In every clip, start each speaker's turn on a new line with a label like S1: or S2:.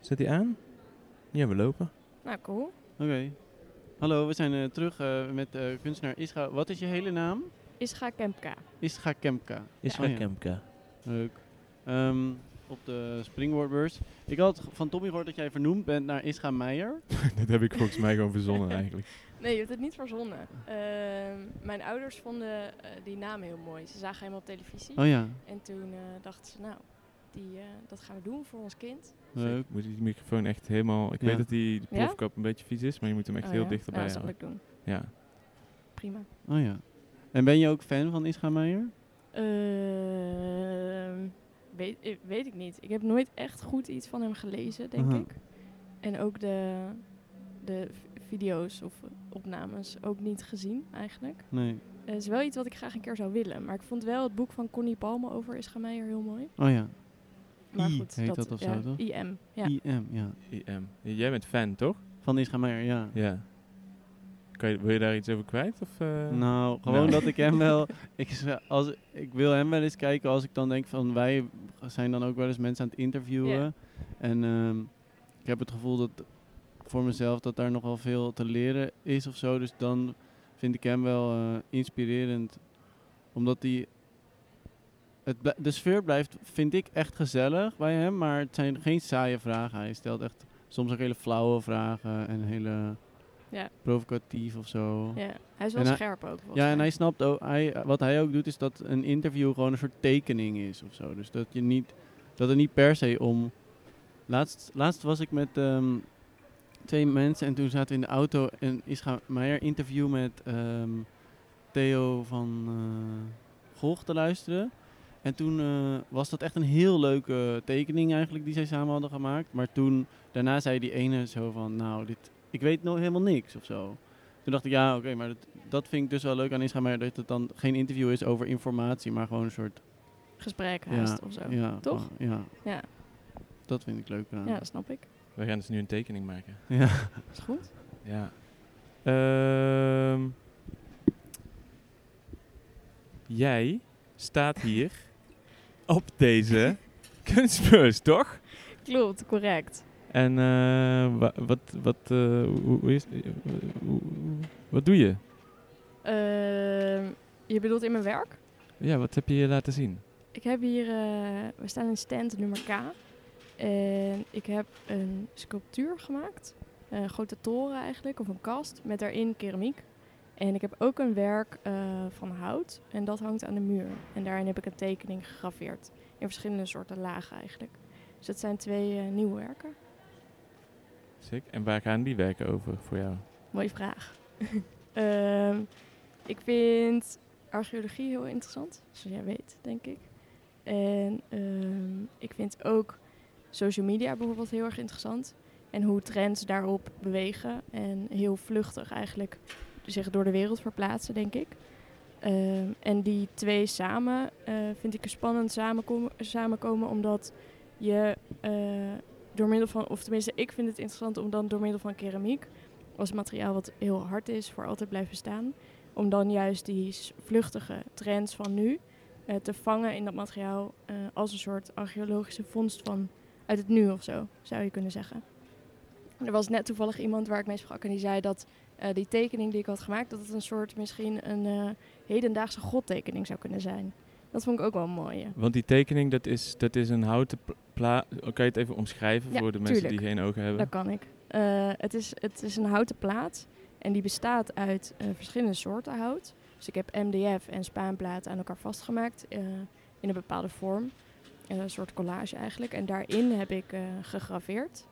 S1: Zet die aan? Ja, we lopen.
S2: Nou, cool.
S3: Oké. Hallo, we zijn eh, terug eh, met eh, kunstenaar Ischa. Wat is je hele naam?
S2: Ischa Kempka.
S3: Ischa Kemka.
S1: Is
S3: Oh
S1: van
S3: ja.
S1: Kemka.
S3: Leuk. Ehm, op de Springboardbeurs. Ik had van Tommy gehoord dat jij vernoemd bent naar Ischa Meijer.
S1: dat heb ik volgens mij gewoon verzonnen eigenlijk.
S2: Nee, je hebt het niet verzonnen. Ehm, mijn ouders vonden eh, die naam heel mooi. Ze zagen hem op televisie.
S3: Oh ja,
S2: En toen eh, dachten ze, nou, die, eh, dat gaan we doen voor ons kind.
S3: leuk.
S1: Moet je die microfoon echt helemaal... Ik
S3: Ja.
S1: weet dat die de
S2: Ja?
S1: plofkap een beetje vies is, maar je moet hem echt
S2: Oh
S1: heel
S2: ja.
S1: dichterbij
S2: Ja, dat zal
S1: houden.
S2: ik doen.
S1: Ja.
S2: Prima.
S3: Oh ja. En ben je ook fan van Ischa Meijer?
S2: Ehm, weet, eh, weet ik niet. Ik heb nooit echt goed iets van hem gelezen, denk
S3: Aha.
S2: ik. En ook de, de v- video's of eh, opnames ook niet gezien, eigenlijk.
S3: Nee.
S2: Het Eh, is wel iets wat ik graag een keer zou willen. Maar ik vond wel het boek van Connie Palme over Ischa Meijer heel mooi.
S3: Oh ja.
S2: Maar
S3: I
S2: goed,
S3: heet dat of zo,
S2: ja,
S3: toch?
S2: IM, ja.
S3: IM, ja.
S1: IM. ehm, Jij bent fan, toch?
S3: Van Ischa Meijer, ja.
S1: Ja. Kan je, wil je daar iets over kwijt? Of, eh?
S3: Nou, gewoon
S1: Nou.
S3: dat ik hem wel. Ik, z- als, ik wil hem wel eens kijken als ik dan denk van wij zijn dan ook wel eens mensen aan het interviewen.
S2: Ja.
S3: En ehm, ik heb het gevoel dat voor mezelf dat daar nog wel veel te leren is of zo. Dus dan vind ik hem wel eh, inspirerend. Omdat hij. Het bl- de sfeer blijft, vind ik, echt gezellig bij hem. Maar het zijn geen saaie vragen. Hij stelt echt soms ook hele flauwe vragen en hele
S2: Ja.
S3: provocatief of zo.
S2: ja. Hij is wel
S3: En hij-
S2: scherp ook. volgens
S3: Ja, en
S2: mij.
S3: hij snapt ook, hij, wat hij ook doet, is dat een interview gewoon een soort tekening is of zo. Dus dat, je niet, dat het niet per se om. Laatst, laatst was ik met ehm, twee mensen en toen zaten we in de auto en Ischa Meijer interview met ehm, Theo van eh Gogh te luisteren. En toen eh, was dat echt een heel leuke tekening eigenlijk die zij samen hadden gemaakt. Maar toen, daarna zei die ene zo van, nou, dit, ik weet nog helemaal niks of zo. Toen dacht ik, ja, oké, maar dat, dat vind ik dus wel leuk aan Isra Meijer, dat het dan geen interview is over informatie, maar gewoon een soort...
S2: Gesprek
S3: Ja,
S2: haast of zo. Ja.
S3: ja,
S2: Toch?
S3: gewoon- ja.
S2: Ja.
S3: Dat vind ik leuk aan.
S2: dat snap ik.
S1: We gaan dus nu een tekening maken.
S3: Ja.
S2: Is goed.
S1: Ja. Ehm, jij staat hier op deze kunstbeurs, toch?
S2: Klopt, correct.
S1: En eh, wa- wat, wat, eh, hoe, hoe is, eh, hoe- hoe- wat doe je?
S2: Ehm, je bedoelt in mijn werk?
S1: Ja, wat heb je hier laten zien?
S2: Ik heb hier, eh, we staan in stand nummer K. En ik heb een sculptuur gemaakt. Een grote toren eigenlijk, of een kast, met daarin keramiek. En ik heb ook een werk eh, van hout en dat hangt aan de muur. En daarin heb ik een tekening gegraveerd. In verschillende soorten lagen eigenlijk. Dus dat zijn twee eh, nieuwe werken.
S1: Sick. En waar gaan die werken over voor jou?
S2: Mooie vraag. Ehm, ik vind archeologie heel interessant, zoals jij weet, denk ik. En ehm, ik vind ook social media bijvoorbeeld heel erg interessant. En hoe trends daarop bewegen en heel vluchtig eigenlijk zich door de wereld verplaatsen, denk ik. Ehm, en die twee samen eh, vind ik een spannend samenkomen, samenkomen omdat je eh, door middel van, of tenminste ik vind het interessant om dan door middel van keramiek als materiaal wat heel hard is, voor altijd blijven staan. Om dan juist die s- vluchtige trends van nu eh, te vangen in dat materiaal eh, als een soort archeologische vondst van uit het nu of zo, zou je kunnen zeggen. Er was net toevallig iemand waar ik mee sprak en die zei dat eh, die tekening die ik had gemaakt, dat het een soort misschien een eh, hedendaagse godtekening zou kunnen zijn. Dat vond ik ook wel een mooie.
S1: Want die tekening, dat is, dat is een houten pla- pla... oh, Kan je het even omschrijven
S2: Ja,
S1: voor de mensen
S2: tuurlijk.
S1: die geen ogen hebben?
S2: Dat kan ik. Eh, het, is, het is een houten plaat en die bestaat uit eh, verschillende soorten hout. Dus ik heb MDF en spaanplaat aan elkaar vastgemaakt eh, in een bepaalde vorm. Eh, een soort collage eigenlijk. En daarin heb ik eh, gegraveerd.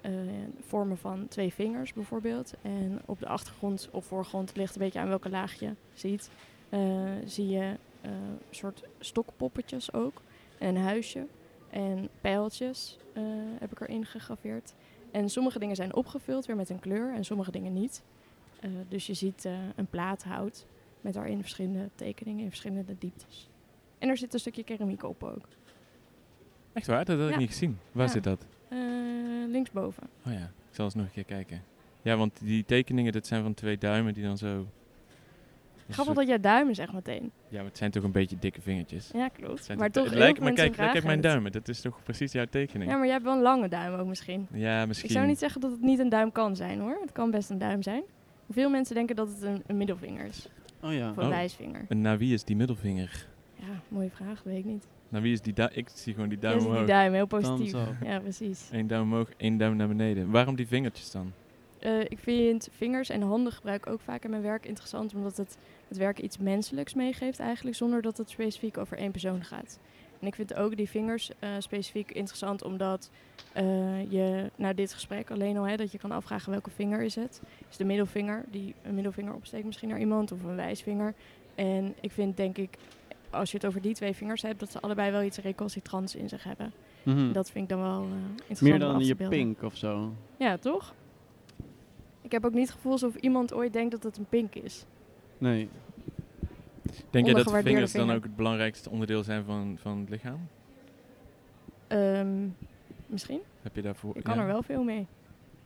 S2: eh, vormen van twee vingers bijvoorbeeld. En op de achtergrond of voorgrond, het ligt een beetje aan welke laag je ziet, eh, zie je eh soort stokpoppetjes ook. En een huisje. En pijltjes eh, heb ik erin gegraveerd. En sommige dingen zijn opgevuld weer met een kleur en sommige dingen niet. Eh, dus je ziet eh, een plaat hout met daarin verschillende tekeningen in verschillende dieptes. En er zit een stukje keramiek op ook.
S1: Echt waar? Dat had ik
S2: Ja.
S1: niet gezien. Waar
S2: Ja.
S1: zit dat?
S2: Eh, linksboven.
S1: Oh ja, ik zal eens nog een keer kijken. Ja, want die tekeningen, dat zijn van twee duimen die dan zo een
S2: Grappig
S1: soort-
S2: dat jij duimen zegt meteen.
S1: Ja, maar het zijn toch een beetje dikke vingertjes.
S2: Ja,
S1: Het
S2: klopt.
S1: zijn
S2: Maar
S1: toch-
S2: toch,
S1: het
S2: heel
S1: lijkt-
S2: veel
S1: maar
S2: mensen
S1: kijk, kijk
S2: vragen
S1: mijn
S2: het.
S1: duimen. Dat is toch precies jouw tekening?
S2: Ja, maar jij hebt wel een lange duim ook misschien.
S1: Ja, misschien.
S2: Ik zou niet zeggen dat het niet een duim kan zijn hoor. Het kan best een duim zijn. Veel mensen denken dat het een, een middelvinger is.
S3: Oh ja.
S2: Of een
S1: Oh.
S2: wijsvinger.
S1: En naar wie is die middelvinger?
S2: Ja, mooie vraag. Weet ik niet.
S1: Naar wie is die duim? Ik zie gewoon die
S2: Jij
S1: duim
S2: ziet die
S1: omhoog.
S2: duim, heel
S3: Oh, Dan
S2: positief.
S3: zo.
S2: Ja, precies.
S1: Eén duim omhoog, één duim naar beneden. Waarom die vingertjes dan?
S2: Eh, ik vind vingers en handen gebruik ook vaak in mijn werk interessant, omdat het het werk iets menselijks meegeeft eigenlijk, zonder dat het specifiek over één persoon gaat. En ik vind ook die vingers eh, specifiek interessant, omdat eh, je nou dit gesprek alleen al, hè, dat je kan afvragen welke vinger is het. Is de middelvinger, die een middelvinger opsteekt misschien naar iemand, of een wijsvinger. En ik vind denk ik, als je het over die twee vingers hebt, dat ze allebei wel iets recalcitrants in zich hebben.
S3: Mhm.
S2: Dat vind ik dan wel eh, interessant
S3: Meer
S2: om af
S3: dan
S2: te
S3: je
S2: beelden.
S3: pink of zo.
S2: Ja, toch? Ik heb ook niet het gevoel alsof iemand ooit denkt dat het een pink is.
S3: Nee.
S1: Denk jij dat de
S2: Ondergewaardeerde
S1: vingers dan
S2: vinger.
S1: ook het belangrijkste onderdeel zijn van, van het lichaam?
S2: Ehm, misschien.
S1: Heb je daarvoor...
S2: Ik kan
S1: ja,
S2: er wel veel mee.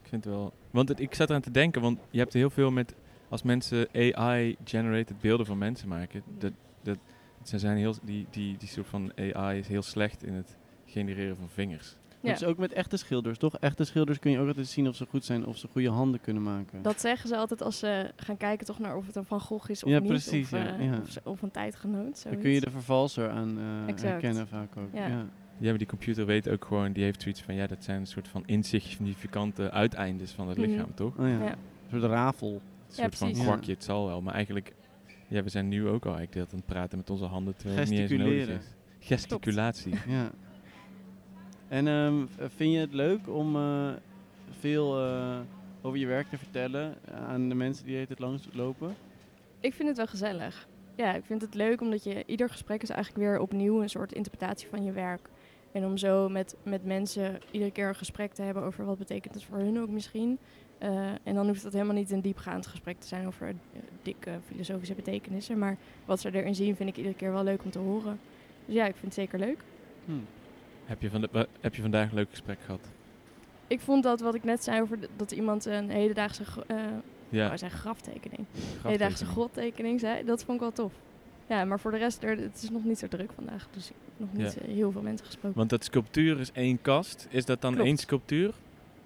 S1: Ik vind het wel... Want het- ik zat eraan te denken, want je hebt heel veel met... Als mensen AI-generated beelden van mensen maken, dat, dat, ze zijn heel, die, die, die soort van AI is heel slecht in het genereren van vingers.
S2: Ja.
S3: Dat is ook met echte schilders, toch? Echte schilders kun je ook altijd zien of ze goed zijn, of ze goede handen kunnen maken.
S2: Dat zeggen ze altijd als ze gaan kijken toch naar of het een Van Gogh is of
S3: Ja,
S2: niet.
S3: precies,
S2: Of,
S3: ja,
S2: eh,
S3: ja.
S2: Of, ze- of een tijdgenoot.
S3: Dan
S2: Zoiets.
S3: kun je de vervalser aan eh,
S2: Exact.
S3: herkennen vaak ook.
S2: Ja.
S3: Ja.
S1: Ja, maar die computer weet ook gewoon, die heeft zoiets van, ja, dat zijn een soort van insignificante uiteindes van het
S2: Mhm.
S1: lichaam, toch?
S3: Oh, ja.
S2: Ja.
S3: Een soort rafel.
S1: Een soort van
S2: precies.
S3: Ja.
S1: kwakje, het zal wel. Maar eigenlijk, ja, we zijn nu ook al eigenlijk de hele tijd aan het praten met onze handen, terwijl het niet eens nodig
S3: Gesticuleren.
S1: is. Gesticulatie.
S3: Ja. En ehm, v- vind je het leuk om eh, veel eh, over je werk te vertellen eh, aan de mensen die het langs lopen?
S2: Ik vind het wel gezellig. Ja, ik vind het leuk omdat je ieder gesprek is eigenlijk weer opnieuw een soort interpretatie van je werk. En om zo met, met mensen iedere keer een gesprek te hebben over wat betekent het voor hun ook misschien. Eh, en dan hoeft dat helemaal niet een diepgaand gesprek te zijn over eh, dikke filosofische betekenissen. Maar wat ze erin zien vind ik iedere keer wel leuk om te horen. Dus ja, ik vind het zeker leuk.
S3: Hm.
S1: Heb je, van de, wa- heb je vandaag een leuk gesprek gehad?
S2: Ik vond dat wat ik net zei over d- dat iemand een hedendaagse, gro- eh
S1: Ja.
S2: wou zeggen graftekening,
S1: graftekening.
S2: hedendaagse grottekening zei. Dat vond ik wel tof. Ja, maar voor de rest, er, het is nog niet zo druk vandaag. Dus ik heb nog niet
S1: Ja.
S2: eh, heel veel mensen gesproken.
S1: Want dat sculptuur is één kast. Is dat dan
S2: Klopt.
S1: één sculptuur?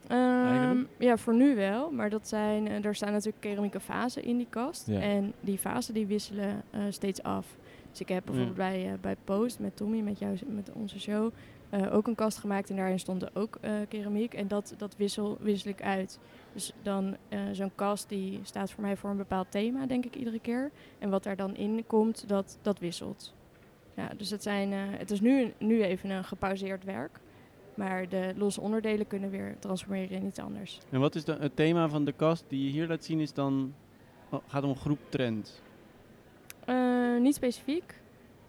S2: Ehm,
S1: eigenlijk?
S2: ja, voor nu wel. Maar dat zijn, eh, er staan natuurlijk keramieke vazen in die kast.
S1: Ja.
S2: En die vazen die wisselen eh, steeds af. Dus ik heb bijvoorbeeld bij, eh, bij Post met Tommy, met, jou, met onze show, eh, ook een kast gemaakt. En daarin stonden ook eh, keramiek. En dat, dat wissel, wissel ik uit. Dus dan eh, zo'n kast die staat voor mij voor een bepaald thema, denk ik, iedere keer. En wat daar dan in komt, dat, dat wisselt. Ja, dus het, zijn, eh, het is nu, nu even een gepauzeerd werk. Maar de losse onderdelen kunnen weer transformeren in iets anders.
S3: En wat is dan het thema van de kast die je hier laat zien is dan oh, gaat om groep trends.
S2: Eh, niet specifiek.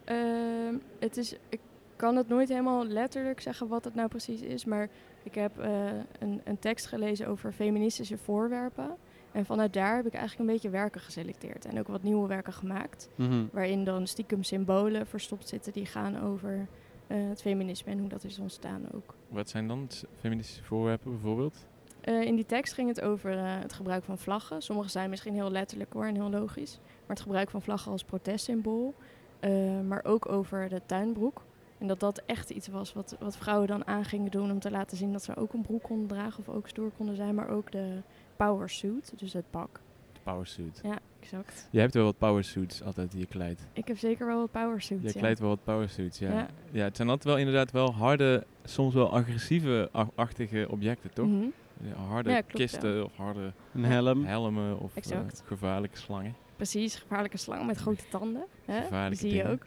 S2: Ehm, het is, ik kan het nooit helemaal letterlijk zeggen wat het nou precies is. Maar ik heb eh, een, een tekst gelezen over feministische voorwerpen. En vanuit daar heb ik eigenlijk een beetje werken geselecteerd. En ook wat nieuwe werken gemaakt.
S3: Mhm.
S2: Waarin dan stiekem symbolen verstopt zitten die gaan over eh, het feminisme en hoe dat is ontstaan ook.
S1: Wat zijn dan s- feministische voorwerpen bijvoorbeeld?
S2: Eh, in die tekst ging het over eh, het gebruik van vlaggen. Sommige zijn misschien heel letterlijk hoor en heel logisch. Maar het gebruik van vlaggen als protestsymbool. Eh, maar ook over de tuinbroek. En dat dat echt iets was wat, wat vrouwen dan aan gingen doen om te laten zien dat ze ook een broek konden dragen of ook stoer konden zijn. Maar ook de power suit, dus het pak.
S1: De powersuit.
S2: Ja, exact.
S1: Je hebt wel wat powersuits altijd die je kleidt.
S2: Ik heb zeker wel wat power suits.
S1: Je
S2: ja.
S1: kleidt wel wat powersuits, ja. ja.
S2: Ja.
S1: het zijn altijd wel inderdaad wel harde, soms wel agressieve a- achtige objecten, toch?
S2: Mhm.
S1: Ja, harde
S2: Ja, klopt,
S1: kisten of harde
S3: Een helm.
S1: helmen of eh,
S2: Hm? Exact.
S1: gevaarlijke slangen.
S2: Precies, gevaarlijke slang met grote tanden. Hè? Die
S1: Gevaarlijke
S2: zie je
S1: dingen.
S2: ook.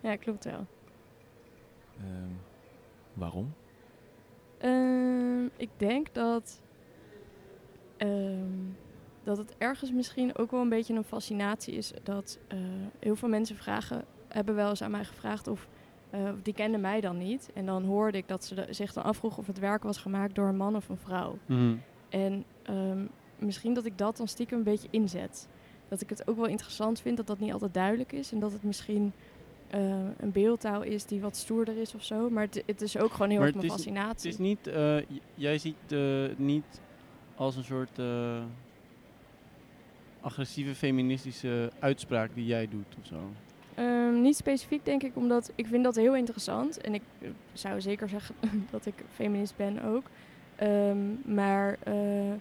S2: Ja, klopt wel.
S1: Ehm, waarom?
S2: Ehm, ik denk dat, ehm, dat het ergens misschien ook wel een beetje een fascinatie is. Dat eh, heel veel mensen vragen, hebben wel eens aan mij gevraagd of eh, die kenden mij dan niet. En dan hoorde ik dat ze de- zich dan afvroegen of het werk was gemaakt door een man of een vrouw.
S3: Mhm.
S2: En ehm, misschien dat ik dat dan stiekem een beetje inzet. Dat ik het ook wel interessant vind dat dat niet altijd duidelijk is. En dat het misschien eh, een beeldtaal is die wat stoerder is of zo. Maar het, het is ook gewoon heel
S3: Maar
S2: erg
S3: het
S2: mijn
S3: is- Het
S2: fascinatie.
S3: is niet, eh, j- jij ziet eh, niet als een soort eh, agressieve feministische uitspraak die jij doet of zo?
S2: Ehm, niet specifiek denk ik, omdat ik vind dat heel interessant. En ik eh, zou zeker zeggen dat ik feminist ben ook. Ehm, maar eh,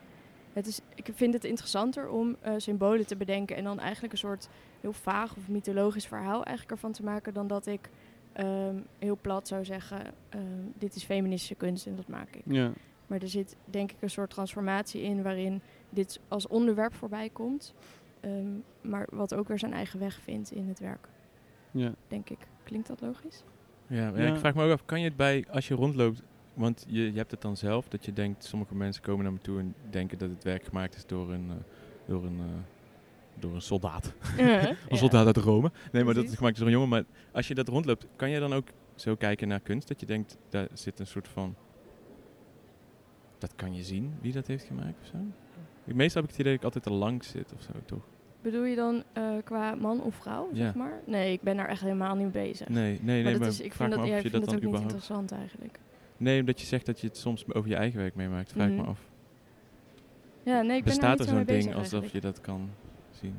S2: het is, ik vind het interessanter om eh, symbolen te bedenken en dan eigenlijk een soort heel vaag of mythologisch verhaal eigenlijk ervan te maken dan dat ik ehm, heel plat zou zeggen, ehm, dit is feministische kunst en dat maak ik.
S3: Ja.
S2: Maar er zit denk ik een soort transformatie in waarin dit als onderwerp voorbij komt. ehm, maar wat ook weer zijn eigen weg vindt in het werk
S3: ja.
S2: denk ik. Klinkt dat logisch?
S1: Ja, maar
S3: Ja.
S1: ik vraag me ook af, kan je het bij, als je rondloopt, want je, je hebt het dan zelf, dat je denkt, sommige mensen komen naar me toe en denken dat het werk gemaakt is door een, eh, door een, eh, door een soldaat.
S2: ja.
S1: Een soldaat uit Rome. Nee, maar dat
S2: Precies.
S1: het gemaakt is door een jongen. Maar als je dat rondloopt, kan je dan ook zo kijken naar kunst, dat je denkt, daar zit een soort van, dat kan je zien, wie dat heeft gemaakt of zo? Ik- Meestal heb ik het idee dat ik altijd er langs zit of zo, toch?
S2: Bedoel je dan eh, qua man of vrouw, zeg
S1: Ja.
S2: maar? Nee, ik ben daar echt helemaal niet mee bezig.
S1: Nee, nee,
S2: maar
S1: nee,
S2: dat
S1: maar
S2: is, ik
S1: vraag
S2: vind
S1: me
S2: dat,
S1: af
S2: ja,
S1: of
S2: ik
S1: je
S2: vind
S1: dat
S2: dat
S1: dan
S2: ook niet
S1: überhaupt...
S2: interessant eigenlijk.
S1: Nee, omdat je zegt dat je het soms over je eigen werk meemaakt, vraag ik
S2: Mhm.
S1: me af.
S2: Ja, nee, ik ben daar
S1: Bestaat
S2: niet
S1: er
S2: zo mee
S1: zo'n
S2: bezig
S1: ding alsof
S2: eigenlijk.
S1: je dat kan zien?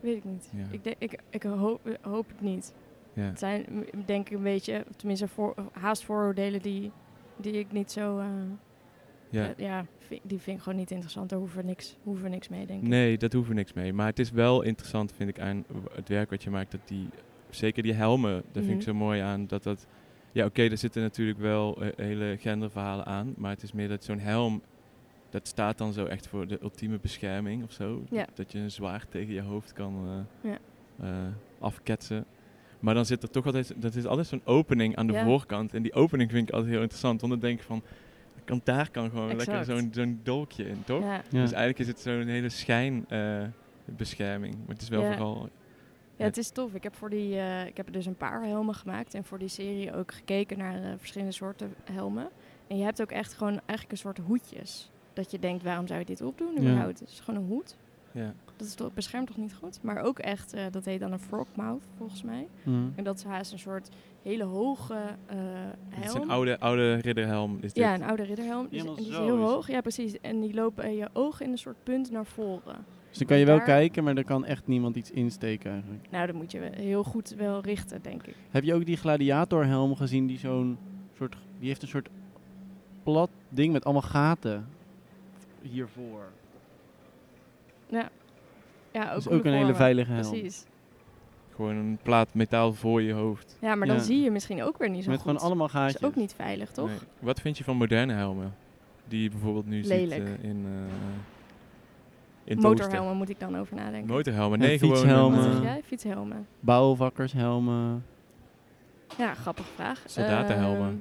S2: Weet ik niet.
S1: Ja.
S2: Ik, denk, ik, ik hoop, eh, hoop het niet.
S1: Ja.
S2: Het zijn m- denk ik een beetje, of tenminste voor, haast vooroordelen die, die ik niet zo... eh,
S1: Ja.
S2: eh, ja, vi- die vind ik gewoon niet interessant. Daar hoeven we niks, hoeven we niks mee, denk ik.
S1: Nee, dat hoeven we niks mee. Maar het is wel interessant, vind ik, aan w- het werk wat je maakt. Dat die, zeker die helmen, daar vind ik
S2: Mhm.
S1: zo mooi aan. Dat dat, ja, oké, er zitten natuurlijk wel eh, hele genderverhalen aan. Maar het is meer dat zo'n helm, dat staat dan zo echt voor de ultieme bescherming of zo.
S2: Ja.
S1: Dat je een zwaard tegen je hoofd kan eh,
S2: Ja.
S1: eh, afketsen. Maar dan zit er toch altijd, dat is altijd zo'n opening aan de
S2: Ja.
S1: voorkant. En die opening vind ik altijd heel interessant. Want dan denk ik van, kan, daar kan gewoon
S2: Exact.
S1: lekker zo'n zo'n dolkje in, toch?
S2: Ja.
S3: Ja.
S1: Dus eigenlijk is het zo'n hele schijnbescherming. maar het is wel
S2: Ja.
S1: vooral...
S2: Ja, het is tof. Ik heb, voor die, eh, ik heb er dus een paar helmen gemaakt en voor die serie ook gekeken naar eh, verschillende soorten helmen. En je hebt ook echt gewoon eigenlijk een soort hoedjes. Dat je denkt, waarom zou je dit opdoen?
S3: Ja.
S2: Überhaupt? Het is gewoon een hoed.
S1: Ja.
S2: Dat is toch, beschermt toch niet goed? Maar ook echt, eh, dat heet dan een frogmouth volgens mij.
S3: Mhm.
S2: En dat is haast een soort hele hoge eh, helm.
S1: Het is een oude, oude ridderhelm. Is dit.
S2: Ja, een oude ridderhelm. Die is-
S3: Helemaal
S2: en die is
S3: zo
S2: heel
S3: is het.
S2: hoog. Ja, precies. En die loopt bij je ogen in een soort punt naar voren.
S3: Dus dan kan je wel
S2: Daar-
S3: kijken, maar daar kan echt niemand iets insteken eigenlijk.
S2: Nou, dat moet je wel- heel goed wel richten, denk ik.
S3: Heb je ook die gladiatorhelm gezien die zo'n soort... Die heeft een soort plat ding met allemaal gaten hiervoor.
S2: Ja, ook
S3: Dat is
S2: om de
S3: ook een hele
S2: vormen.
S3: veilige helm.
S2: Precies. nou.
S1: Gewoon een plaat metaal voor je hoofd.
S2: Ja, maar dan
S3: Ja.
S2: zie je misschien ook weer niet zo
S3: Met
S2: goed.
S3: gewoon allemaal
S2: dat
S3: gaatjes.
S2: is ook niet veilig, toch?
S1: Nee. Wat vind je van moderne helmen? Die je bijvoorbeeld nu
S2: Lelijk.
S1: ziet eh, in... eh in het
S2: Motorhelmen moet ik dan over nadenken.
S1: oosten. Motorhelmen,
S3: En
S1: nee, gewoon... een,
S3: fietshelmen.
S2: Wat
S1: eh,
S2: zeg jij? Fietshelmen.
S3: Bouwvakkershelmen.
S2: Ja, grappige vraag.
S1: Soldatenhelmen.
S2: Ehm,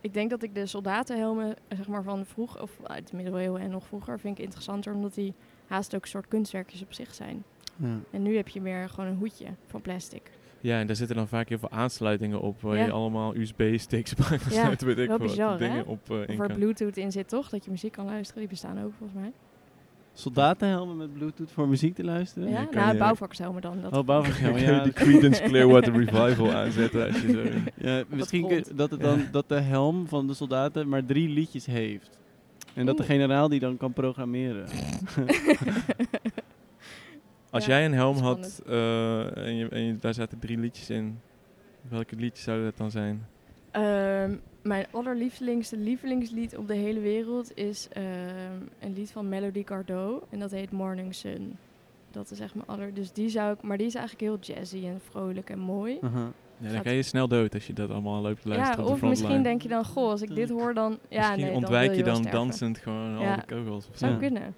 S2: ik denk dat ik de soldatenhelmen eh, zeg maar, van vroeg, of uit de middeleeuwen en nog vroeger, vind ik interessanter. Omdat die haast ook een soort kunstwerkjes op zich zijn.
S3: Ja.
S2: En nu heb je meer gewoon een hoedje van plastic.
S1: Ja, en daar zitten dan vaak heel veel aansluitingen op. Waar
S2: Ja.
S1: je allemaal USB-sticks bij aangesloten, weet ik
S2: wel
S1: veel wat,
S2: bizar, hè?
S1: dingen op eh, in
S2: Of waar
S1: kan.
S2: bluetooth in zit, toch? Dat je muziek kan luisteren. Die bestaan ook volgens mij.
S3: Soldatenhelmen met bluetooth voor muziek te luisteren.
S2: Ja,
S1: Ja, kan
S2: nou,
S1: je-
S2: bouwvakkershelmen dan. Dat
S3: Oh,
S1: Dan
S3: bouwvakkershelmen.
S1: kun je
S3: Ja,
S1: die Creedence Clearwater Revival aanzetten als je zo... in-
S3: Ja, misschien
S2: grond.
S3: kun- dat, het dan,
S1: Ja.
S3: dat de helm van de soldaten maar drie liedjes heeft. En dat de
S2: Oeh.
S3: generaal die dan kan programmeren.
S1: Als
S2: Ja,
S1: jij een helm
S2: spannend.
S1: had eh, en, je, en je- daar zaten drie liedjes in, welke liedjes zouden dat dan zijn?
S2: Ehm, mijn allerliefste lievelingslied op de hele wereld is ehm, een lied van Melody Gardot. En dat heet Morning Sun. Dat is echt mijn aller... Dus die zou ik... Maar die is eigenlijk heel jazzy en vrolijk en mooi.
S3: Aha.
S1: Ja, dan
S2: Gaat-
S1: ga je snel dood als je dat allemaal loopt te luisteren
S2: ja,
S1: op de
S2: of
S1: frontline.
S2: misschien denk je dan... Goh, als ik dit hoor dan... Ja,
S1: misschien
S2: nee,
S1: ontwijk
S2: dan wil
S1: je
S2: wel
S1: dan
S2: sterven.
S1: dansend gewoon
S2: Ja.
S1: al de kogels. of zo.
S2: Zou
S3: Ja.
S2: kunnen.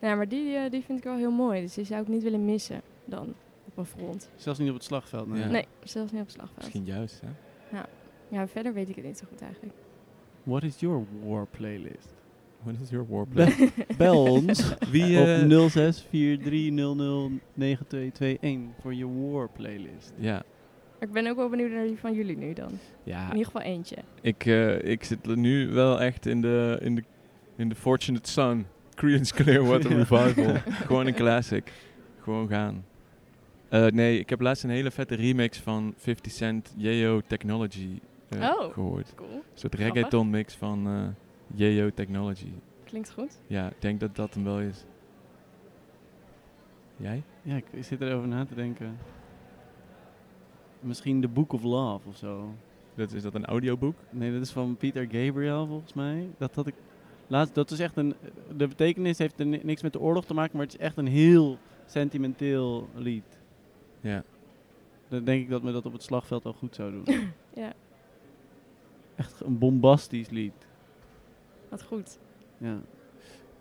S2: Ja, maar die, eh, die vind ik wel heel mooi. Dus die zou ik niet willen missen dan op een front.
S3: Zelfs niet op het slagveld. Nee.
S1: Ja.
S2: Nee, zelfs niet op het slagveld.
S1: Misschien juist, hè?
S2: Ja, verder weet ik het niet zo goed eigenlijk.
S3: What is your war playlist?
S1: What is your warplay?
S3: Be- Bel ons
S1: Wie, eh,
S3: op 0643009221 voor je war playlist.
S1: ja,
S2: Maar ik ben ook wel benieuwd naar die van jullie nu dan. In
S1: ja
S2: ieder geval eentje.
S1: ik, eh, ik zit nu wel echt in de, in de, in de Fortunate Sun. Creedence Clearwater
S3: Ja.
S1: Revival. gewoon een classic. Gewoon gaan. Eh, nee, ik heb laatst een hele vette remix van 50 Cent Yeo Technology eh,
S2: Oh.
S1: gehoord.
S2: Cool.
S1: Een soort
S2: Grappig.
S1: reggaeton mix van eh Yeo Technology.
S2: Klinkt goed.
S1: Ja, ik denk dat dat hem wel is. Jij?
S3: Ja, ik zit erover na te denken. Misschien The Book of Love of zo.
S1: Dat, is dat een audioboek?
S3: Nee, dat is van Peter Gabriel volgens mij. Dat had ik laatst. Dat is echt een. De betekenis heeft er ni- niks met de oorlog te maken, maar het is echt een heel sentimenteel lied.
S1: Ja.
S3: Dan denk ik dat me dat op het slagveld al goed zou doen.
S2: Ja.
S3: Echt een bombastisch lied.
S2: Wat goed.
S3: Ja.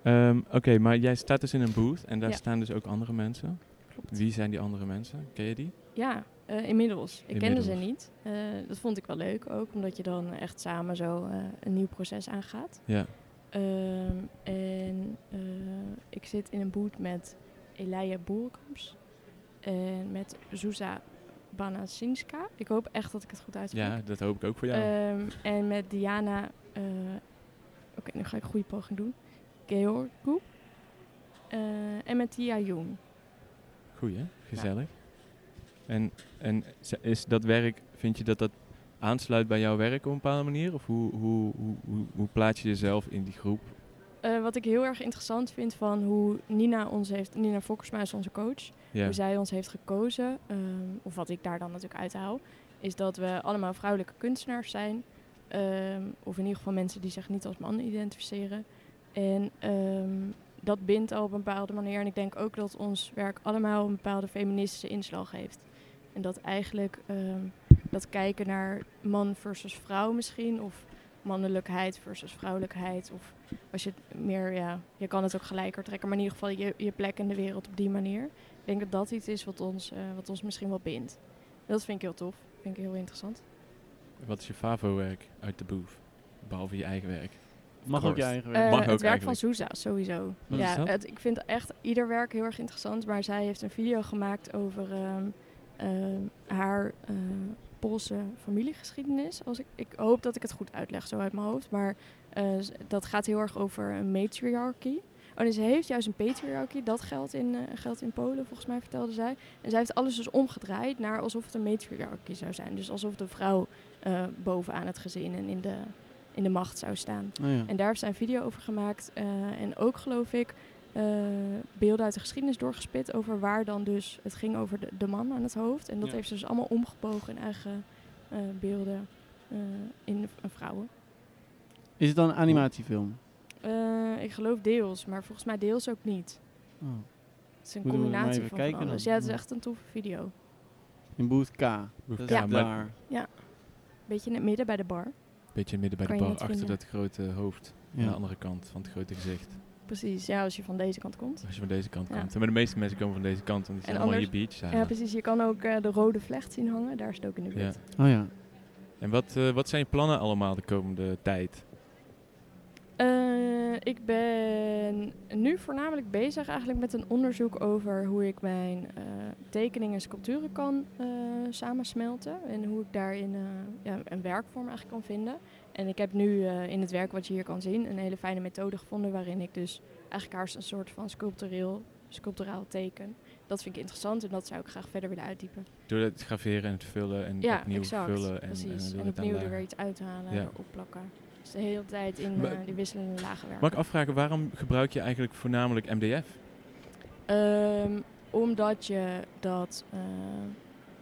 S1: Ehm, Oké, maar jij staat dus in een booth en daar
S2: Ja.
S1: staan dus ook andere mensen.
S2: Klopt.
S1: Wie zijn die andere mensen? Ken je die?
S2: Ja, eh, inmiddels. Ik kende ze
S1: Inmiddels.
S2: niet. Eh, dat vond ik wel leuk ook, omdat je dan echt samen zo eh, een nieuw proces aangaat.
S1: Ja.
S2: Ehm, en eh, ik zit in een boot met Elia Boerenkamps en met Zuza Banasinska. Ik hoop echt dat ik het goed uitspreek.
S1: ja, dat hoop ik ook voor jou.
S2: Ehm, en met Diana, eh, oké, nu ga ik een goede poging doen. Georgou. Eh en met Tia Jung.
S1: Goeie, hè? gezellig. En, en ze- is dat werk, vind je dat dat aansluit bij jouw werk op een bepaalde manier? Of hoe, hoe, hoe, hoe, hoe plaats je jezelf in die groep?
S2: Eh, wat ik heel erg interessant vind van hoe Nina ons heeft, Nina Fokkersma is onze coach,
S1: Ja,
S2: hoe zij ons heeft gekozen, ehm, of wat ik daar dan natuurlijk uithaal, is dat we allemaal vrouwelijke kunstenaars zijn. ehm, of in ieder geval mensen die zich niet als man identificeren. En ehm, dat bindt al op een bepaalde manier. En ik denk ook dat ons werk allemaal een bepaalde feministische inslag heeft. En dat eigenlijk ehm, dat kijken naar man versus vrouw misschien, of mannelijkheid versus vrouwelijkheid, of als je het meer, ja, je kan het ook gelijker trekken, maar in ieder geval je, je plek in de wereld op die manier. Ik denk dat dat iets is wat ons, eh, wat ons misschien wel bindt. Dat vind ik heel tof. Vind ik heel interessant.
S1: Wat is je favo-werk uit de booth? Behalve je eigen werk.
S3: Mag ook je
S1: course.
S3: eigen
S2: Eh,
S3: werk.
S1: Mag
S2: het
S1: ook
S2: werk van
S1: eigenlijk.
S2: Sousa sowieso.
S1: Wat
S2: ja,
S1: is dat?
S2: Het, ik vind echt ieder werk heel erg interessant. Maar zij heeft een video gemaakt over ehm, ehm, haar eh, Poolse familiegeschiedenis. Als ik, ik hoop dat ik het goed uitleg zo uit mijn hoofd. Maar eh, z- dat gaat heel erg over een matriarchie. Oh nee, ze heeft juist een patriarchie. Dat geldt in, eh, geldt in Polen, volgens mij vertelde zij. En zij heeft alles dus omgedraaid naar alsof het een matriarchie zou zijn. Dus alsof de vrouw eh, bovenaan het gezin en in de, in de macht zou staan.
S3: Oh ja.
S2: En daar heeft zij een video over gemaakt. eh, en ook, geloof ik, eh, beelden uit de geschiedenis doorgespit over waar dan dus... Het ging over de, de man aan het hoofd. En dat
S3: Ja.
S2: heeft ze dus allemaal omgebogen in eigen eh, beelden eh, in eh, vrouwen.
S3: Is het dan een animatiefilm?
S2: Eh, ik geloof deels, maar volgens mij deels ook niet.
S3: Oh.
S2: Het is een
S3: Moeten we maar
S2: combinatie
S3: even
S2: van,
S3: kijken
S2: van alles.
S3: dan?
S2: Ja, het is
S3: Ja.
S2: echt een toffe video.
S3: In Booth K. Dat is
S1: K, maar-
S3: daar.
S2: Beetje in het midden bij de bar.
S1: Beetje midden bij
S2: Kan
S1: de
S2: je
S1: bar,
S2: niet
S1: achter
S2: vinden.
S1: dat grote hoofd. Aan de
S3: Ja.
S1: andere kant van het grote gezicht.
S2: Precies, ja, als je van deze kant komt.
S1: Als je van deze kant
S2: Ja.
S1: komt. Maar de meeste mensen komen van deze kant, want die
S2: En
S1: zijn allemaal in je
S2: anders-
S1: beach.
S2: Ja, precies. Je kan ook eh, de rode vlecht zien hangen. Daar is het ook in de buurt.
S1: Ja.
S3: Oh ja.
S1: En wat, eh, wat zijn je plannen allemaal de komende tijd?
S2: Eh, ik ben nu voornamelijk bezig eigenlijk met een onderzoek over hoe ik mijn eh, tekeningen en sculpturen kan eh, samensmelten. En hoe ik daarin eh, ja, een werkvorm eigenlijk kan vinden. En ik heb nu eh, in het werk wat je hier kan zien een hele fijne methode gevonden waarin ik dus eigenlijk haar een soort van sculptureel, sculpturaal teken. Dat vind ik interessant en dat zou ik graag verder willen uitdiepen.
S1: Door het graveren en het vullen en
S2: Ja,
S1: opnieuw
S2: exact.
S1: vullen. En,
S2: Precies.
S1: en,
S2: En,
S1: dan het
S2: opnieuw er
S1: aanlagen.
S2: weer iets uithalen,
S1: Ja.
S2: opplakken. Dus de hele tijd in
S1: Maar-
S2: eh, die wisselende lagen werken.
S1: Mag ik afvragen, waarom gebruik je eigenlijk voornamelijk MDF?
S2: Ehm, omdat je dat. eh,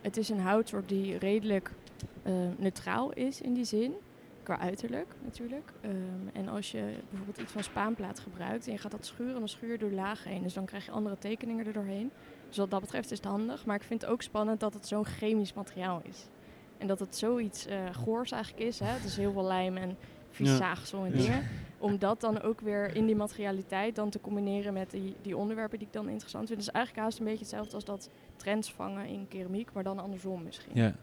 S2: het is een houtsoort die redelijk eh, neutraal is in die zin. Qua uiterlijk natuurlijk. Ehm, en als je bijvoorbeeld iets van spaanplaat gebruikt en je gaat dat schuren, dan schuur je door lagen heen. Dus dan krijg je andere tekeningen er doorheen. Dus wat dat betreft is het handig. Maar ik vind het ook spannend dat het zo'n chemisch materiaal is. En dat het zoiets eh, goors eigenlijk is. Hè? Het is heel veel lijm en vies
S3: Ja.
S2: zaagsel en
S3: Ja.
S2: dingen. Om dat dan ook weer in die materialiteit dan te combineren met die, die onderwerpen die ik dan interessant vind. Dus eigenlijk haast een beetje hetzelfde als dat trends vangen in keramiek, maar dan andersom misschien.
S1: Ja.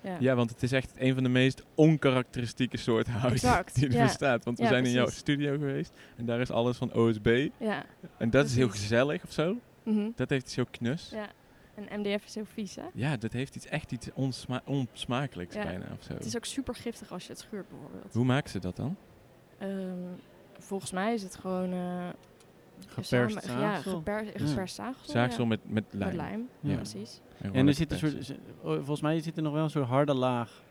S2: Ja.
S1: ja, want het is echt een van de meest onkarakteristieke soorten hout
S2: Exact,
S1: die er
S2: ja.
S1: bestaat. Want we
S2: Ja,
S1: zijn in jouw
S2: precies.
S1: studio geweest en daar is alles van OSB. En
S2: Ja.
S1: dat is heel
S2: Precies.
S1: gezellig of zo.
S2: mhm.
S1: Dat heeft iets heel knus. Ja,
S2: ja. En MDF is heel vies, hè?
S1: dat heeft iets, echt iets onsma- onsmakelijks
S2: Ja.
S1: bijna of zo.
S2: Het is Oh, ook super giftig als je het schuurt bijvoorbeeld.
S1: Hoe maken ze dat dan?
S2: Ehm, volgens mij is het gewoon... eh,
S3: Geperst
S2: samen- Ja,
S3: zaagsel.
S2: geper- geperst zaagsel.
S1: Zaagsel
S2: ja.
S1: met, met lijm.
S2: Met lijm,
S3: Ja.
S2: precies.
S1: gewoon
S3: En er
S1: lekker
S3: zit een
S1: persen.
S3: soort, z- oh, volgens mij zit er nog wel een soort harde laag.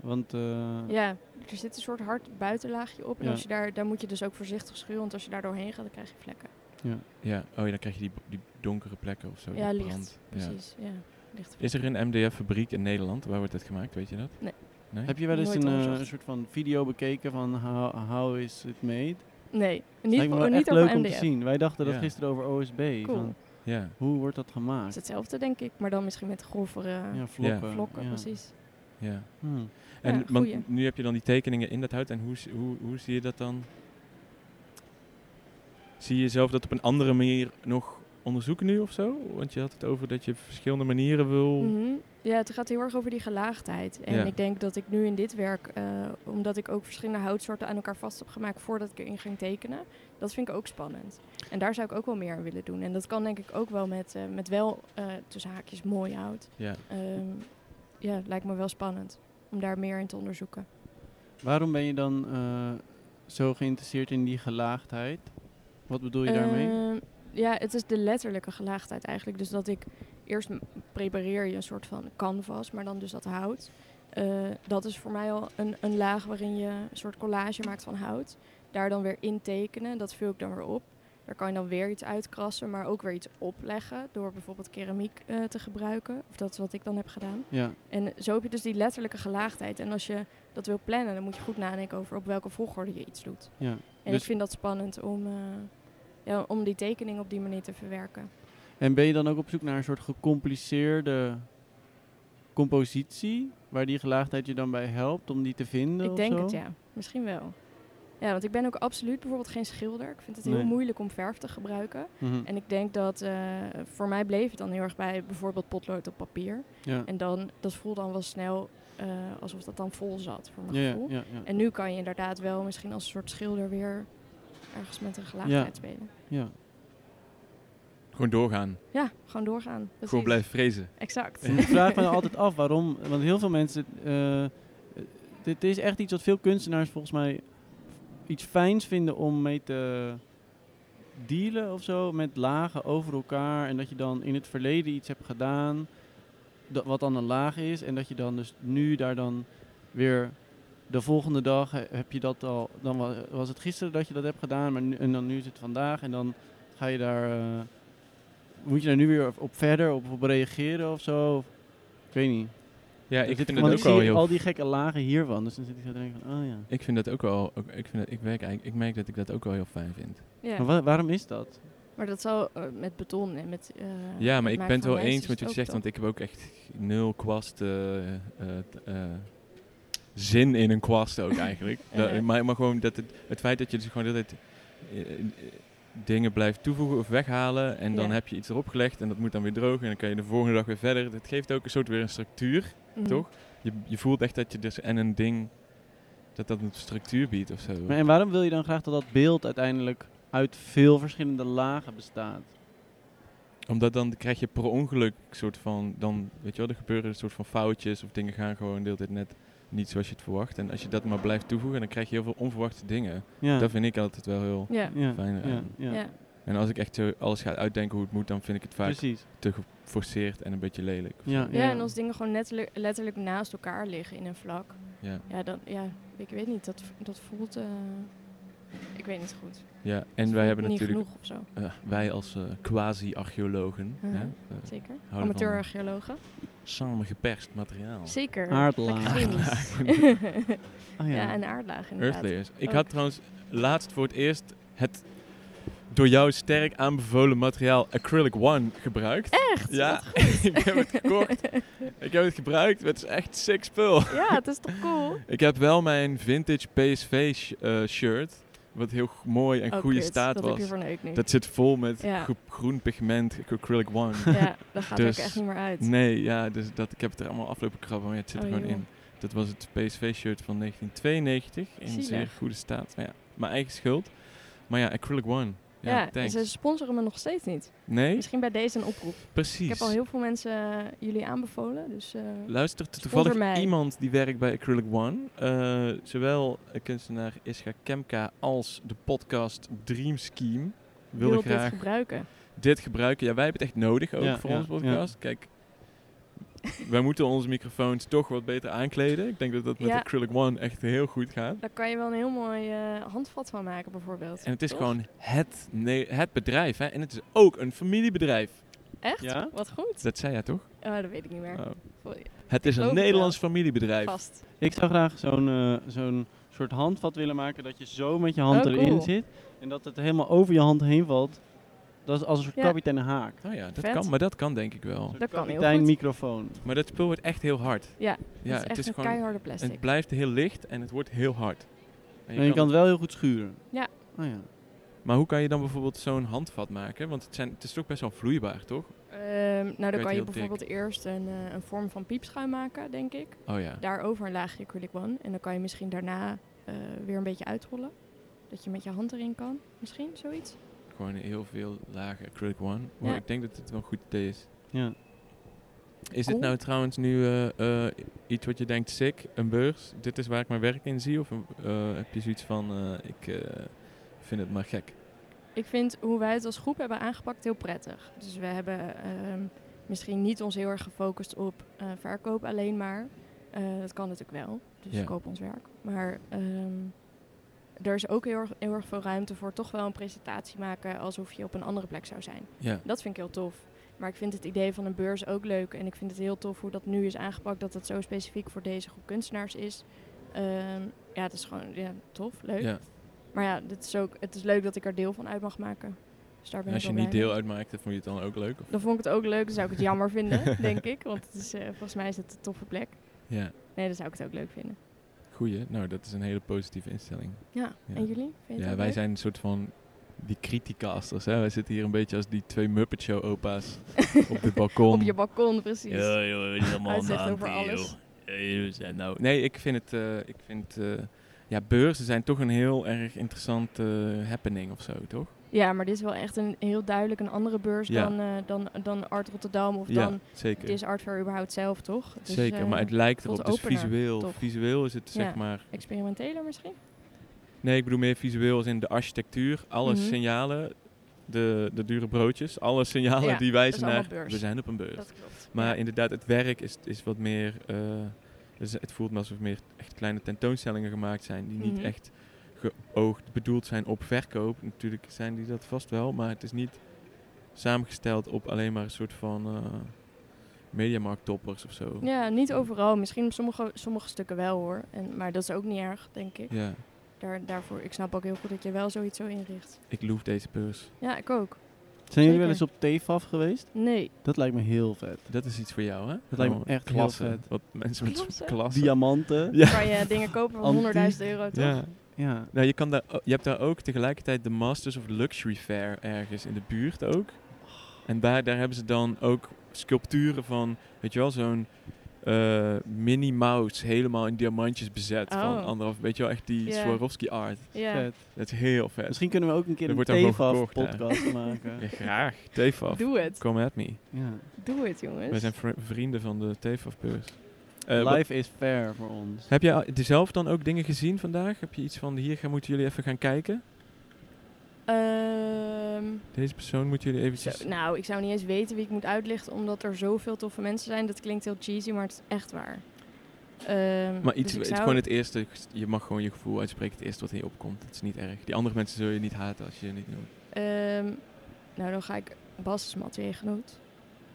S3: Want eh,
S2: Ja, er zit een soort hard buitenlaagje op. En
S3: Ja.
S2: als je daar, daar moet je dus ook voorzichtig schuren, want als je daar doorheen gaat, dan krijg je vlekken.
S3: Ja.
S1: Ja, oh ja, dan krijg je die, die donkere plekken of zo.
S2: Ja,
S1: die
S2: licht.
S1: brand. Ja.
S2: Precies, ja. Licht.
S1: Is er een MDF-fabriek in Nederland? Waar wordt dit gemaakt, weet je dat?
S3: Heb je wel eens
S2: Nooit
S3: een, eh,
S2: onderzocht.
S3: een soort van video bekeken van how, how is it made?
S2: Nee, niet,
S3: Lijkt me
S2: oh,
S3: wel
S2: niet
S3: echt
S2: over
S3: leuk om te
S2: MDF.
S3: zien. Wij dachten dat
S1: Ja.
S3: gisteren over OSB.
S2: Cool.
S3: Van,
S1: Ja.
S3: hoe wordt dat
S2: Het is
S3: gemaakt?
S2: hetzelfde, denk ik, maar dan misschien met grovere
S3: Ja, vlokken.
S2: vlokken,
S3: ja.
S2: precies.
S1: ja.
S3: Hmm.
S1: En
S2: Ja,
S1: want
S2: goeie.
S1: nu heb je dan die tekeningen in dat hout. En hoe, s- hoe, hoe zie je dat dan? Zie je zelf dat op een andere manier nog onderzoeken nu of zo? Want je had het over dat je verschillende manieren wil.
S2: Mhm. Ja, het gaat heel erg over die gelaagdheid. En
S1: Ja.
S2: ik denk dat ik nu in dit werk, eh, omdat ik ook verschillende houtsoorten aan elkaar vast heb gemaakt voordat ik erin ging tekenen, dat vind ik ook spannend. En daar zou ik ook wel meer aan willen doen. En dat kan denk ik ook wel met, eh, met wel eh, tussen haakjes mooi hout.
S1: Ja.
S2: Ehm, ja, het lijkt me wel spannend om daar meer in te onderzoeken.
S3: Waarom ben je dan eh, zo geïnteresseerd in die gelaagdheid? Wat bedoel je daarmee?
S2: Ehm, ja, het is de letterlijke gelaagdheid eigenlijk. Dus dat ik eerst m- prepareer je een soort van canvas, maar dan dus dat hout. Eh, dat is voor mij al een, een laag waarin je een soort collage maakt van hout. Daar dan weer in tekenen, dat vul ik dan weer op. Daar kan je dan weer iets uitkrassen, maar ook weer iets opleggen. Door bijvoorbeeld keramiek eh, te gebruiken. Of dat is wat ik dan heb gedaan.
S3: Ja,
S2: En zo heb je dus die letterlijke gelaagdheid. En als je dat wil plannen, dan moet je goed nadenken over op welke volgorde je iets doet.
S3: ja.
S2: En
S3: Dus-
S2: ik vind dat spannend om, eh, ja, om die tekening op die manier te verwerken.
S3: En ben je dan ook op zoek naar een soort gecompliceerde compositie? Waar die gelaagdheid je dan bij helpt om die te vinden?
S2: Ik
S3: of
S2: denk
S3: zo?
S2: het, ja. Misschien wel. Ja, want ik ben ook absoluut bijvoorbeeld geen schilder. Ik vind het heel
S3: Nee.
S2: moeilijk om verf te gebruiken.
S3: Mhm,
S2: En ik denk dat, eh, voor mij bleef het dan heel erg bij bijvoorbeeld potlood op papier.
S3: ja.
S2: En dan, dat voelde dan wel snel eh, alsof dat dan vol zat voor mijn
S3: Ja, ja,
S2: gevoel.
S3: ja, ja.
S2: En nu kan je inderdaad wel misschien als een soort schilder weer ergens met een gelaagdheid spelen.
S3: ja.
S1: Gewoon doorgaan.
S2: Ja, gewoon doorgaan. Precies.
S1: Gewoon blijven vrezen.
S2: Exact.
S3: Ik vraag me altijd af waarom, want heel veel mensen, eh, eh, dit is echt iets wat veel kunstenaars volgens mij iets fijns vinden om mee te dealen of zo, met lagen over elkaar en dat je dan in het verleden iets hebt gedaan dat, wat dan een laag is en dat je dan dus nu daar dan weer de volgende dag he- heb je dat al, dan wa- was het gisteren dat je dat hebt gedaan maar nu, en dan nu is het vandaag en dan ga je daar... eh, moet je daar nu weer op- op verder op, op reageren of zo? Of- ik weet niet.
S1: Ja,
S3: Dus
S1: ik
S3: dit-
S1: vind
S3: want
S1: het ook
S3: zie
S1: wel
S3: je
S1: heel
S3: al die gekke lagen hiervan. Dus dan zit ik zo te denken van, oh ja.
S1: Ik vind dat ook wel. ook- ik, vind dat, ik, werk eigenlijk, ik merk dat ik dat ook wel heel fijn vind.
S2: Ja.
S3: Maar wa- waarom is dat?
S2: Maar dat zal eh, met beton en met. eh,
S1: Ja, maar
S2: het
S1: ik ben
S2: maken
S1: het
S2: van
S1: wel eens
S2: lijstjes
S1: met wat je
S2: ook
S1: zegt,
S2: dan.
S1: want ik heb ook echt nul kwast. eh, eh, t- eh, zin in een kwast ook eigenlijk. Dat-
S2: Ja.
S1: maar, maar gewoon dat het, het feit dat je dus gewoon de hele tijd. eh, eh, Dingen blijft toevoegen of weghalen. En dan
S2: Ja.
S1: heb je iets erop gelegd. En dat moet dan weer drogen. En dan kan je de volgende dag weer verder. Dat geeft ook een soort weer een structuur.
S2: Mhm.
S1: toch? Je, je voelt echt dat je dus en een ding. Dat dat een structuur biedt of zo.
S3: Maar, en waarom wil je dan graag dat dat beeld uiteindelijk uit veel verschillende lagen bestaat?
S1: Omdat dan krijg je per ongeluk soort van, dan weet je wel, er gebeuren een soort van foutjes of dingen gaan gewoon de hele tijd net niet zoals je het verwacht. En als je dat maar blijft toevoegen, dan krijg je heel veel onverwachte dingen.
S3: Ja.
S1: Dat vind ik altijd wel heel
S2: Ja.
S3: ja.
S1: fijn eh,
S3: ja.
S1: eraan.
S3: ja.
S2: Ja.
S1: En als ik echt zo alles ga uitdenken hoe het moet, dan vind ik het vaak
S3: Precies.
S1: te geforceerd en een beetje lelijk. of zo.
S3: Ja,
S2: ja, en als dingen gewoon letterlijk, letterlijk naast elkaar liggen in een vlak.
S1: Ja.
S2: Ja, dan, ja ik weet niet, dat, dat voelt. eh, ik weet niet goed.
S1: ja.
S2: Dat
S1: En wij hebben
S2: niet
S1: natuurlijk,
S2: genoeg of zo,
S1: eh, wij als eh, quasi-archeologen,
S2: Mhm.
S1: hè, eh,
S2: zeker.
S1: houden van Oh.
S2: Amateur-archeologen.
S1: samen geperst materiaal.
S2: Zeker.
S3: Aardlaag.
S2: Lekker chemisch.
S3: Oh, ja.
S2: ja, en aardlaag inderdaad.
S1: Earthlayers. Ik
S2: Ook.
S1: had trouwens laatst voor het eerst het door jou sterk aanbevolen materiaal Acrylic One gebruikt.
S2: Echt?
S1: Ja,
S2: Wat-
S1: ik heb het gekocht. Ik heb het gebruikt. Het is echt sick spul.
S2: Ja, het is toch cool?
S1: Ik heb wel mijn vintage PSV sh- eh, shirt, wat heel g- mooi en
S2: Oh,
S1: goede
S2: kut,
S1: staat
S2: dat
S1: was.
S2: heb je verneukt nu.
S1: Dat zit vol met
S2: Ja.
S1: gro- groen pigment Acrylic One.
S2: ja, dat gaat
S1: Dus-
S2: ook echt niet meer uit.
S1: Nee, ja, dus dat, ik heb het er allemaal aflopen krabben, maar ja, het zit er
S2: Oh,
S1: gewoon
S2: joh.
S1: in. Dat was het PSV-shirt van 1992, in
S2: Zielig.
S1: zeer goede staat. Maar ja, mijn eigen schuld. Maar ja, Acrylic One. Ja,
S2: ja, dus en
S1: thanks.
S2: ze sponsoren me nog steeds niet.
S1: Nee,
S2: Misschien bij deze een oproep.
S1: precies.
S2: Ik heb al heel veel mensen eh, jullie aanbevolen, dus eh,
S1: Luistert
S2: Sponsor
S1: toevallig
S2: mij.
S1: iemand die werkt bij Acrylic One. eh, zowel eh, kunstenaar Ischa Kemka als de podcast Dream Scheme
S2: wil
S1: willen
S2: dit
S1: graag
S2: gebruiken.
S1: dit gebruiken. Ja, wij hebben het echt nodig ook
S3: Ja,
S1: voor
S3: ja,
S1: onze podcast. Kijk, wij moeten onze microfoons toch wat beter aankleden. Ik denk dat dat met
S2: Ja.
S1: Acrylic One echt heel goed gaat.
S2: Daar kan je wel een heel mooi eh, handvat van maken, bijvoorbeeld.
S1: En het is
S2: Toch?
S1: gewoon het, ne- het bedrijf. Hè? En het is ook een familiebedrijf.
S2: Echt?
S3: Ja?
S2: Wat goed.
S1: Dat zei jij toch?
S2: Oh, dat weet ik niet meer.
S1: Oh.
S2: Voor-
S1: Het is een
S2: geloof het wel.
S1: Nederlands familiebedrijf.
S2: Vast.
S3: Ik zou graag zo'n eh, zo'n soort handvat willen maken dat je zo met je hand
S2: Oh,
S3: erin
S2: cool.
S3: zit. En dat het helemaal over je hand heen valt. Dat is als een soort
S2: Ja.
S3: kapitein haak.
S1: Oh ja, dat
S2: Vet.
S1: kan, maar dat kan denk ik wel.
S3: Een soort
S2: Dat kan heel
S3: kapitein
S2: goed.
S3: microfoon.
S1: Maar dat spul wordt echt heel hard.
S2: Ja,
S1: ja
S2: het is echt een keiharde plastic.
S1: het blijft heel licht en het wordt heel hard. En je
S3: En je
S1: kan-
S3: kan het wel heel goed schuren.
S2: Ja.
S3: Oh ja.
S1: maar hoe kan je dan bijvoorbeeld zo'n handvat maken? Want het, zijn, het is toch best wel vloeibaar, toch?
S2: Ehm, nou, dan
S1: Werd
S2: kan je
S1: heel dik.
S2: bijvoorbeeld eerst een, eh, een vorm van piepschuim maken, denk ik.
S1: Oh ja.
S2: Daarover een laagje acrylic one. En dan kan je misschien daarna eh, weer een beetje uitrollen. Dat je met je hand erin kan. Misschien zoiets.
S1: Gewoon heel veel lagen acrylic one. Maar
S2: Ja.
S1: ik denk dat het wel een goed idee is.
S3: ja.
S1: Is
S2: Cool.
S1: dit nou trouwens nu eh, eh, iets wat je denkt, sick, een beurs, dit is waar ik mijn werk in zie? Of eh, heb je zoiets van, eh, ik eh, vind het maar gek?
S2: Ik vind hoe wij het als groep hebben aangepakt heel prettig. Dus we hebben ehm, misschien niet ons heel erg gefocust op eh, verkoop alleen maar. Eh, dat kan natuurlijk wel. Dus
S1: Ja.
S2: koop ons werk. Maar ehm, er is ook heel erg, heel erg veel ruimte voor toch wel een presentatie maken alsof je op een andere plek zou zijn.
S1: Ja,
S2: Dat vind ik heel tof. Maar ik vind het idee van een beurs ook leuk. En ik vind het heel tof hoe dat nu is aangepakt. Dat het zo specifiek voor deze groep kunstenaars is. Ehm, ja, het is gewoon ja, tof, leuk.
S1: ja.
S2: Maar ja, dit is ook, het is leuk dat ik er deel van uit mag maken. Dus daar ben
S1: En als
S2: ik
S1: je
S2: wel
S1: niet
S2: blij
S1: deel
S2: mee.
S1: uitmaakt, dan vond je het dan ook leuk? Of?
S2: Dan vond ik het ook leuk. Dan zou ik het jammer vinden, denk ik. Want het is, eh, volgens mij is het een toffe plek.
S1: Ja,
S2: Nee, dan zou ik het ook leuk vinden.
S1: goeie. Nou, dat is een hele positieve instelling.
S2: Ja,
S1: Ja.
S2: en jullie? Vind je het
S1: Ja,
S2: ook
S1: wij
S2: leuk?
S1: zijn een soort van die criticasters. Hè? Wij zitten hier een beetje als die twee Muppet Show opa's op dit balkon.
S2: Op je balkon, precies.
S4: Ja, joh, het is allemaal
S2: Uitzicht
S4: aan de
S2: over
S4: hand,
S2: alles.
S4: joh. Ja, jullie zijn nou...
S1: Nee, ik vind het. eh, ik vind, eh, ja, beurzen zijn toch een heel erg interessante happening of zo, toch?
S2: Ja, maar dit is wel echt een heel duidelijk een andere beurs
S1: Ja.
S2: dan, eh, dan, dan Art Rotterdam of dan
S1: ja, zeker.
S2: Het is Art Fair überhaupt zelf, toch? Dus,
S1: zeker,
S2: eh,
S1: maar het lijkt erop.
S2: wat
S1: Dus
S2: opener,
S1: visueel,
S2: toch?
S1: visueel is het zeg
S2: Ja.
S1: maar.
S2: Experimenteler misschien?
S1: Nee, ik bedoel meer visueel als in de architectuur. Alle
S2: Mhm.
S1: signalen, de, de dure broodjes, alle signalen
S2: Ja,
S1: die
S2: dat
S1: wijzen
S2: is allemaal
S1: naar.
S2: beurs.
S1: We zijn op een beurs.
S2: Dat klopt.
S1: Maar
S2: ja.
S1: inderdaad, het werk is, is wat meer. eh, dus het voelt me alsof meer echt kleine tentoonstellingen gemaakt zijn. Die niet
S2: Mhm.
S1: echt geoogd bedoeld zijn op verkoop. Natuurlijk zijn die dat vast wel. Maar het is niet samengesteld op alleen maar een soort van. eh Mediamarkt-toppers of zo.
S2: Ja, niet overal. Misschien op sommige, sommige stukken wel hoor. En, maar dat is ook niet erg, denk ik.
S1: Ja,
S2: Daar, daarvoor, ik snap ook heel goed dat je wel zoiets zo inricht.
S1: ik loef deze beurs.
S2: Ja, ik ook.
S3: Zijn jullie
S2: Zeker.
S3: wel eens op TFAF geweest?
S2: Nee.
S3: Dat lijkt me heel vet.
S1: Dat is iets voor jou, hè?
S3: Dat lijkt me echt heel
S1: klasse.
S3: vet.
S1: Wat mensen met
S2: Klasse?
S1: zo'n klasse.
S3: Diamanten.
S1: Ja.
S2: Kan je dingen kopen
S3: Antiek.
S2: voor 100.000 euro, toch?
S1: ja.
S3: Ja.
S1: Nou, je, kan daar, o- je hebt daar ook tegelijkertijd de Masters of Luxury Fair ergens in de buurt ook. En daar, daar hebben ze dan ook sculpturen van, weet je wel, zo'n eh mini mouse helemaal in diamantjes bezet. Van
S2: Oh.
S1: anderhalf, weet je wel, echt die
S2: Ja.
S1: Swarovski art.
S2: Ja.
S3: Vet.
S1: Dat is heel vet.
S3: Misschien kunnen we ook een keer
S1: Er wordt
S3: een
S1: dan gewoon
S3: TFAF
S1: verkocht, hè?
S3: podcast maken.
S1: Ja, graag. TFAF,
S2: Doe het.
S1: come at me.
S3: Ja.
S2: Doe het, jongens.
S1: Wij zijn vri- vrienden van de TFAF-beurs. Eh,
S3: Life is fair voor ons.
S1: heb jij al- zelf dan ook dingen gezien vandaag? Heb je iets van, hier gaan, moeten jullie even gaan kijken?
S2: Ehm,
S1: Deze persoon moeten jullie eventjes...
S2: zo- nou, ik zou niet eens weten wie ik moet uitlichten, omdat er zoveel toffe mensen zijn. Dat klinkt heel cheesy, maar het is echt waar. Ehm,
S1: Maar iets,
S2: dus ik
S1: het
S2: zou-
S1: gewoon het eerste. Je mag gewoon je gevoel uitspreken. Het eerste wat in je opkomt. Het is niet erg. Die andere mensen zullen je niet haten als je het niet noemt.
S2: Ehm, nou, dan ga ik Bas Matweegenoot,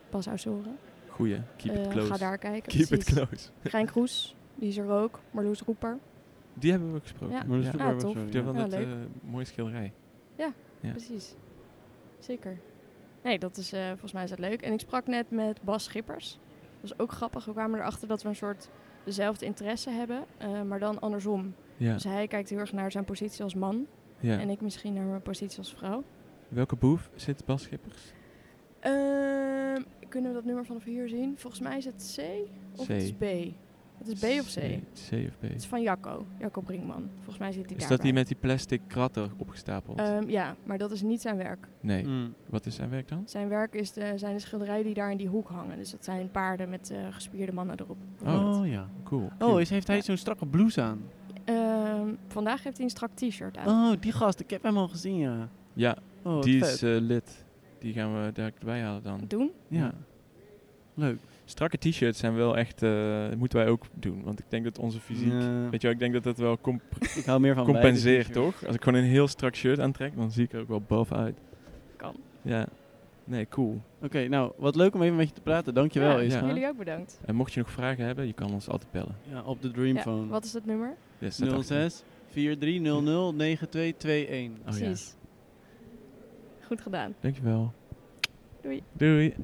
S2: Bas Ausoren.
S1: Goeie. Keep it
S2: Eh,
S1: close.
S2: Ga daar kijken.
S1: Keep it
S2: precies.
S1: close.
S2: Gein Kroes, die is er ook. Marloes Roeper.
S1: Die hebben we gesproken.
S2: Ja.
S1: Ja.
S3: Maar dat is
S1: Die
S3: ook wel
S2: Ah,
S3: weer
S2: tof.
S3: zo,
S1: hebben
S2: Ja,
S1: dat eh, mooie schilderij. Ja.
S2: Precies. Zeker. Nee, dat is eh, volgens mij is dat leuk. En ik sprak net met Bas Schippers. Dat was ook grappig. We kwamen erachter dat we een soort dezelfde interesse hebben, eh, maar dan andersom.
S1: Ja.
S2: Dus hij kijkt heel erg naar zijn positie als man
S1: ja.
S2: en ik misschien naar mijn positie als vrouw.
S1: Welke boef zit Bas Schippers?
S2: Ehm, kunnen we dat nummer vanaf hier zien? Volgens mij is het C of
S1: C.
S2: het is B. Het is B of C.
S1: C of B.
S2: Het is van Jacco, Jacco Brinkman. Volgens mij zit hij
S1: Is
S2: daar.
S1: dat die met die plastic kratten opgestapeld?
S2: ja, maar dat is niet zijn werk.
S1: nee.
S3: Mm.
S1: Wat is zijn werk dan?
S2: Zijn werk is de, zijn de schilderijen die daar in die hoek hangen. Dus dat zijn paarden met eh, gespierde mannen erop.
S1: Oh.
S3: Oh, ja.
S1: Cool.
S3: Oh,
S1: Cute.
S3: is, heeft hij
S2: Ja.
S3: zo'n strakke blouse aan?
S2: Ehm, vandaag heeft hij een strak t-shirt aan.
S3: Oh, die gast. Ik heb hem al gezien, ja.
S1: ja,
S3: Oh, wat
S1: die eh,
S3: vet.
S1: is eh, lid. Die gaan we direct bijhalen dan.
S2: Doen?
S3: ja. Leuk.
S1: strakke t-shirts zijn wel echt, eh, moeten wij ook doen. Want ik denk dat onze fysiek,
S3: Ja.
S1: weet je wel, ik denk dat dat wel comp-
S3: Ik hou meer van
S1: compenseert,
S3: wijde t-shirts.
S1: toch? Als ik gewoon een heel strak shirt aantrek, dan zie ik er ook wel bovenuit.
S2: Kan.
S1: Ja, nee, cool.
S3: Oké, nou, wat leuk om even met je te praten. Dankjewel,
S2: Ja,
S3: Isma.
S2: Jullie ook bedankt.
S1: En mocht je nog vragen hebben, je kan ons altijd bellen.
S3: Ja, op de
S2: Ja,
S3: Dreamphone.
S2: wat is dat nummer?
S3: Oh,
S1: Yes, staat achter.
S3: 06 4300 9221.
S1: Oh ja.
S2: Precies. Goed gedaan.
S1: Dankjewel.
S2: Doei.
S1: Doei.